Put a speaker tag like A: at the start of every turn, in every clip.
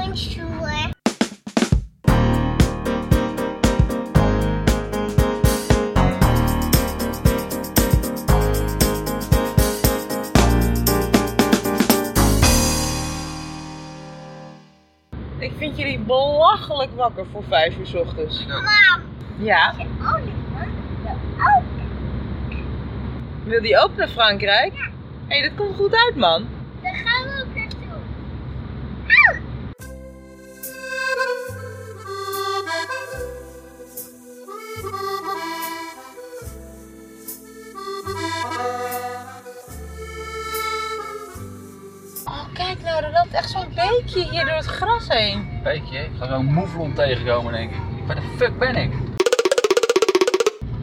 A: handschoenen.
B: Ik vind jullie belachelijk wakker voor vijf uur 's ochtends.
A: Maar
B: Ja.
A: de olifant wil ook.
B: Wil die ook naar Frankrijk?
A: Ja.
B: Hé, hey, dat komt goed uit, man.
A: Daar gaan we ook naartoe. Ah.
B: Oh, kijk nou, er loopt echt zo'n beekje hier door het gras heen.
C: Beekje, ik ga zo'n moeflon tegenkomen denk ik. Waar de fuck ben ik?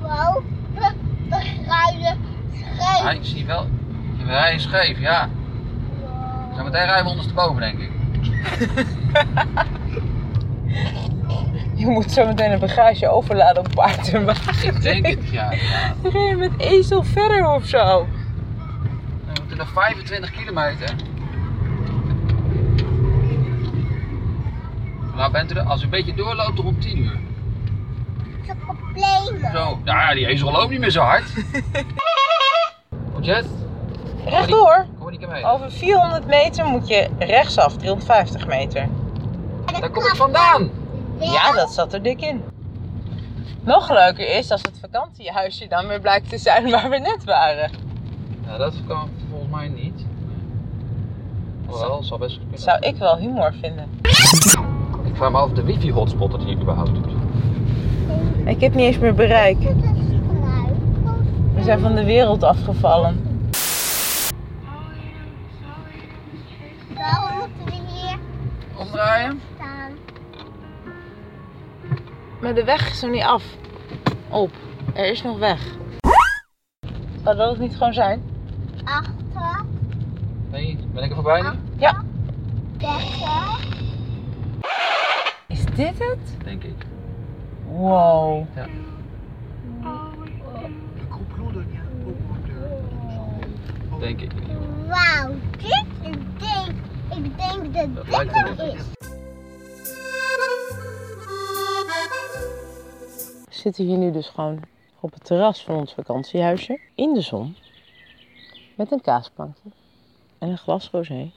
A: Wow, we, we rijden scheef.
C: Hij zie wel. We rijden scheef, ja.
A: Wow.
C: Zometeen rijden we ondersteboven denk ik.
B: Je moet zo meteen een bagage overladen op paard en wagen.
C: Ik denk het, ja. ja.
B: Dan ga je met ezel verder of zo.
C: We moeten nog 25 kilometer. Nou bent u er, als u een beetje doorloopt, toch om 10 uur.
A: Ze problemen.
C: Zo, nou ja, die ezel loopt niet meer zo hard. Moet je het?
B: Rechtdoor.
C: Kom er niet mee.
B: Over 400 meter moet je rechtsaf, 350 meter.
C: Daar kom ik vandaan.
B: Ja, dat zat er dik in. Nog leuker is als het vakantiehuisje dan weer blijkt te zijn waar we net waren.
C: Nou, dat kan volgens mij niet. Wel, zal best kunnen.
B: Zou ik wel humor vinden.
C: Ik vraag me af of de wifi hotspot dat hier überhaupt doet.
B: Ik heb niet eens meer bereik.
A: Dat is geluid.
B: We zijn van de wereld afgevallen.
A: Waarom moeten we hier
C: Omdraaien?
A: staan?
B: Maar de weg is nog niet af. Op. Er is nog weg. Zou dat het niet gewoon zijn?
A: Achter,
C: Nee, ben ik er voorbij nu?
B: Ja.
A: dekken.
B: Is dit het?
C: Denk ik.
B: Wow.
C: Oh,
A: oh.
C: Denk ik.
A: Wauw, dit is denk, ik denk dat
C: Dat
A: dit
C: lijkt
A: hem
C: er wel.
A: is.
B: We zitten hier nu dus gewoon op het terras van ons vakantiehuisje. In de zon. Met een kaasplankje. En een glas rosé.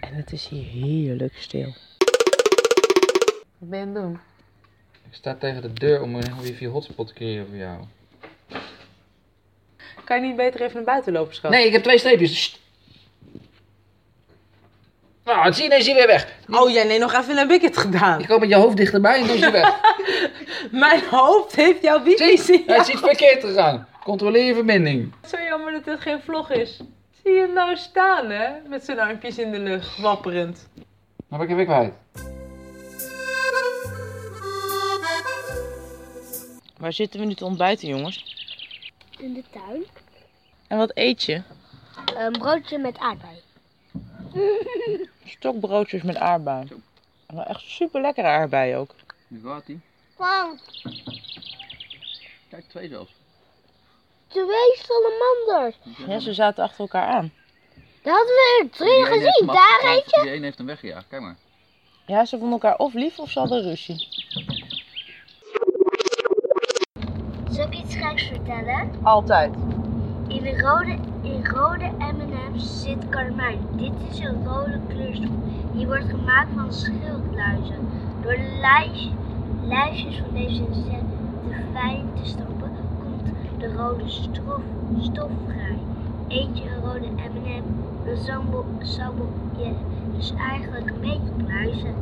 B: En het is hier heerlijk stil. Wat ben je aan het doen?
C: Ik sta tegen de deur om een wifi hotspot te creëren voor jou.
B: Kan je niet beter even naar buiten lopen, schat?
C: Nee, ik heb twee streepjes. Sst. Nou, het zie je, nee, zie je weer weg.
B: Oh, jij neemt nog even naar Wicked gedaan.
C: Je komt met je hoofd dichterbij en dan is je weg.
B: Mijn hoofd heeft jouw wifi zien.
C: Het is iets verkeerd gegaan. Controleer je verbinding.
B: Zo jammer dat dit geen vlog is. Zie je hem nou staan, hè? Met zijn armpjes in de lucht, wapperend.
C: Nou ben ik er weer kwijt.
B: Waar zitten we nu te ontbijten, jongens?
A: In de tuin.
B: En wat eet je?
A: Een broodje met aardbei.
B: Stokbroodjes met aardbei. Wel echt super lekkere aardbei ook.
C: Nu gaat hij.
A: Wow,
C: Kijk, twee zelfs.
A: twee salamanders.
B: Ja, ze zaten achter elkaar aan.
A: Daar hadden we er drie gezien. Daar heeft
C: Die een heeft hem weggejaagd, kijk maar.
B: Ja, ze vonden elkaar of lief of ze hadden ruzie.
A: Zal ik iets geks vertellen?
B: Altijd.
A: In de rode, in rode M&M's zit karmijn. Dit is een rode kleurstof. Die wordt gemaakt van schildluizen. Door de lijf, lijfjes van deze insecten te fijn te stampen, komt de rode stof, stof vrij. Eet je een rode M&M, dan sambel, sambel je dus eigenlijk een beetje pluizen.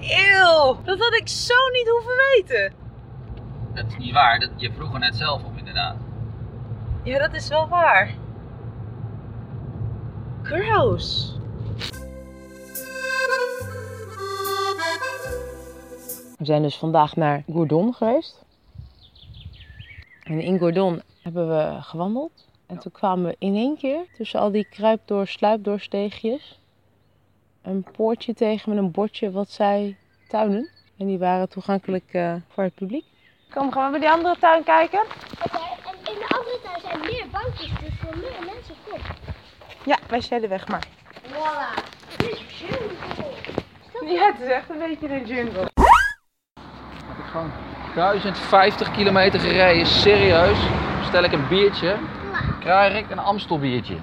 B: Eeuw, dat had ik zo niet hoeven weten.
C: Dat is niet waar, dat, je vroeg er net zelf op inderdaad.
B: Ja, dat is wel waar. Gross. We zijn dus vandaag naar Gourdon geweest. En in Gourdon hebben we gewandeld. En toen kwamen we in één keer tussen al die kruipdoor, sluipdoorsteegjes een poortje tegen met een bordje wat zei tuinen. En die waren toegankelijk eh, voor het publiek. Kom, gaan we bij die andere tuin kijken?
A: Oké, en in de andere tuin zijn meer bankjes, dus voor meer mensen komt.
B: Ja, wij zijn de weg maar.
A: Voilà. Dit is heel cool.
B: Ja, het is echt een beetje een jungle.
C: Heb ik gewoon 1050 kilometer gereden, serieus. Stel ik een biertje, krijg ik een Amstel biertje.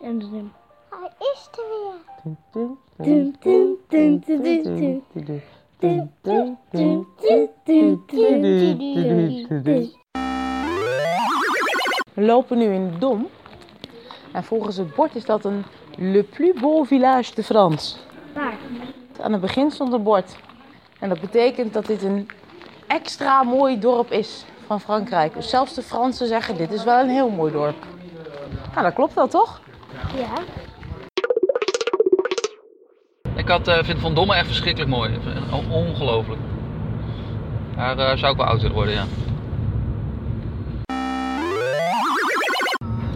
A: En dan
D: Hij is er weer.
B: Dun, dun, dun, dun, dun, dun, dun, dun, dun, dun, dun, dun, dun, dun, dun, dun. We lopen nu in de Dom. En volgens het bord is dat een Le plus beau village de France.
A: Waar?
B: Aan het begin stond een bord. En dat betekent dat dit een extra mooi dorp is van Frankrijk. Dus zelfs de Fransen zeggen dit is wel een heel mooi dorp. Nou, dat klopt wel toch?
A: Ja.
C: Ik had, eh, vind Van Domme echt verschrikkelijk mooi. O- Ongelooflijk. Daar eh, zou ik wel oud willen worden, ja.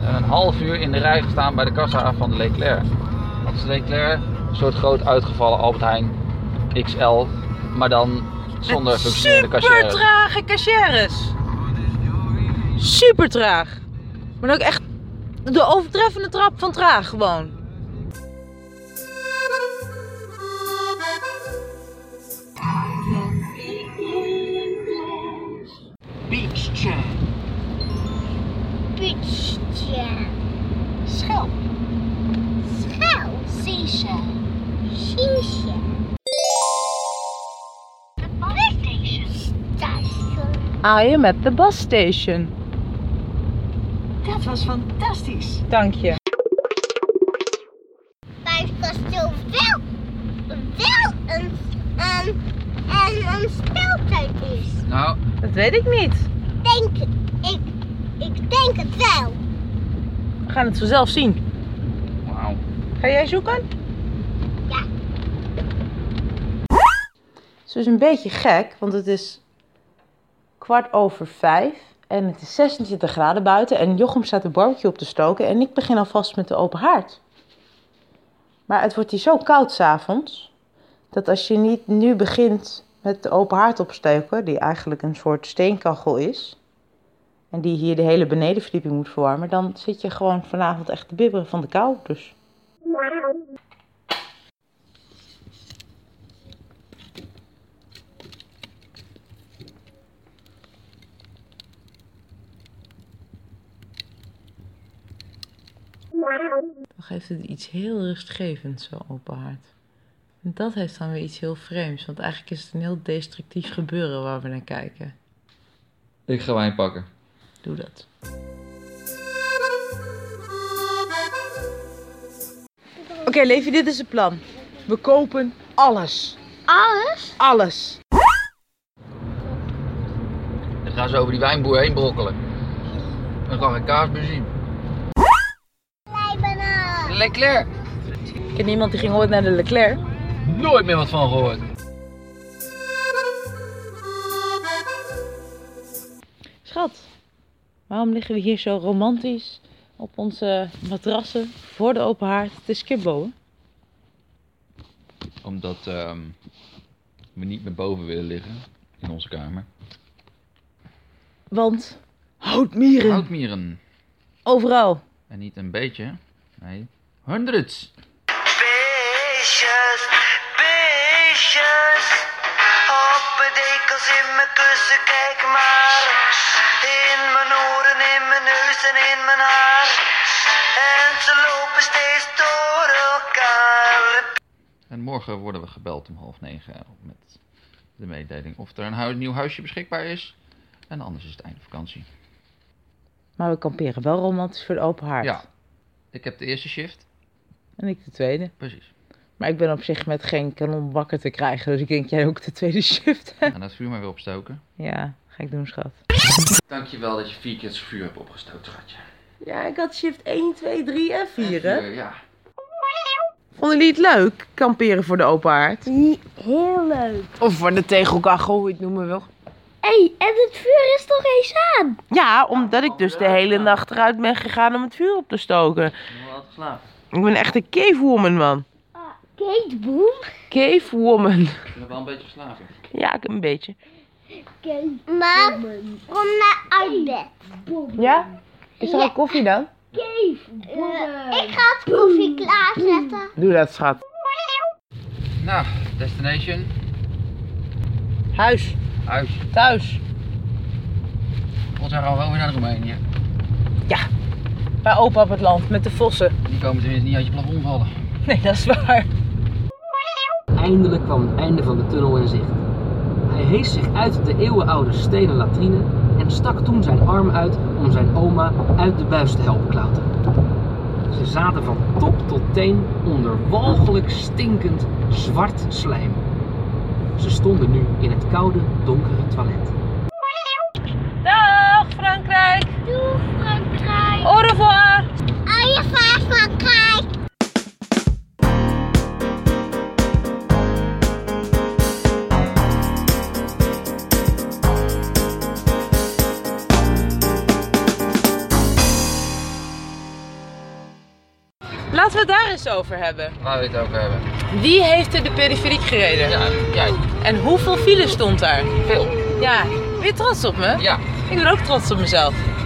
C: En een half uur in de rij gestaan bij de kassa van de Leclerc. Dat is Leclerc een soort groot uitgevallen Albert Heijn XL, maar dan zonder functionerende
B: Super
C: cashier.
B: trage cachères. Super traag. Maar ook echt de overtreffende trap van traag gewoon.
C: Beach chair.
D: Pietje.
B: Schelp.
D: Schel.
A: Seashell.
D: Siesje.
A: The bus station.
D: Station.
B: I am at the bus station.
E: Dat was fantastisch.
B: Dank je.
D: Bij het kasteel wel, wel een, een, een, een speeltuin is.
C: Nou,
B: Dat weet ik niet.
D: Denk, ik, ik denk het wel.
B: We gaan het vanzelf zien.
C: wauw.
B: Ga jij zoeken?
D: Ja.
B: Het is dus een beetje gek, want het is kwart over vijf en het is 26 graden buiten en Jochem staat de barbecue op te stoken en ik begin alvast met de open haard. Maar het wordt hier zo koud s'avonds, dat als je niet nu begint met de open haard opstoken, die eigenlijk een soort steenkachel is, en die hier de hele benedenverdieping moet verwarmen, dan zit je gewoon vanavond echt te bibberen van de kou. Dus dan geeft het iets heel rustgevends, zo open haard. En dat heeft dan weer iets heel vreemds, want eigenlijk is het een heel destructief gebeuren waar we naar kijken.
C: Ik ga wijn pakken.
B: Doe dat. Oké, Levi, dit is het plan. We kopen alles.
D: Alles?
B: Alles.
C: Dan gaan ze over die wijnboer heen brokkelen. Dan gaan we kaasboer zien.
D: Lijbana.
C: Leclerc,
B: Ik ken iemand die ging ooit naar de Leclerc.
C: nooit meer wat van gehoord.
D: eh.
B: Schat, waarom liggen we hier zo romantisch op onze matrassen voor de open haard? Het is kibbo, hè?
C: Omdat ehm, we niet meer boven willen liggen in onze kamer.
B: Want houtmieren.
C: Houtmieren.
B: Overal.
C: En niet een beetje, nee, hundreds.
F: Beestjes, beestjes. Op mijn dekels, in mijn kussen, kijk maar. In mijn oren, in mijn neus en in mijn haar. En ze lopen steeds door elkaar.
C: En morgen worden we gebeld om half negen met de mededeling of er een hui- nieuw huisje beschikbaar is. En anders is het einde vakantie.
B: Maar we kamperen wel romantisch voor de open haard.
C: Ja, ik heb de eerste shift.
B: En ik de tweede.
C: Precies.
B: Maar ik ben op zich met geen kanon wakker te krijgen. Dus ik denk jij ook de tweede shift.
C: En dat vuur maar weer opstoken.
B: ja, ga ik doen, schat.
C: Dankjewel dat je vier keer het vuur hebt opgestoken, schatje.
B: Ja, ik had shift 1, 2, 3 en 4,
C: Vuur, ja.
B: Vonden jullie het leuk, kamperen voor de open haard?
A: Heel leuk.
B: Of voor de tegelkachel, hoe je het noemen wil.
A: Hé, en het vuur is toch eens aan?
B: Ja, omdat ik dus de hele nacht eruit ben gegaan om het vuur op te stoken.
C: Nog wel geslapen.
B: Ik ben echt een cavewoman, man.
A: Kate Boom.
B: Cavewoman.
C: Ik heb wel een beetje geslapen.
B: Ja, ik een beetje.
A: Kate
D: Maar kom naar uit bed.
B: Ja? Is er al koffie dan?
D: Eh, ik ga het koffie klaarzetten.
B: Doe dat, schat.
C: Nou, destination,
B: Huis,
C: huis.
B: thuis.
C: Volgens mij gaan we wel weer naar Roemenië.
B: Bij opa op het land met de vossen.
C: Die komen tenminste niet uit je plafond vallen.
B: Nee, dat is waar.
G: Eindelijk kwam het einde van de tunnel in zicht. Hij hees zich uit de eeuwenoude stenen latrine en stak toen zijn arm uit om zijn oma uit de buis te helpen klauteren. Ze zaten van top tot teen onder walgelijk stinkend zwart slijm. Ze stonden nu in het koude, donkere toilet.
B: Dag Frankrijk.
D: Doe Frankrijk.
B: Au revoir.
D: Oh, je vaart Frankrijk.
B: Laten we het daar eens over hebben.
C: Laten we het ook hebben.
B: Wie heeft er de periferiek gereden?
C: Ja, jij.
B: En hoeveel file stond daar?
C: Veel.
B: Ja, ben je trots op me?
C: Ja.
B: Ik ben ook trots op mezelf.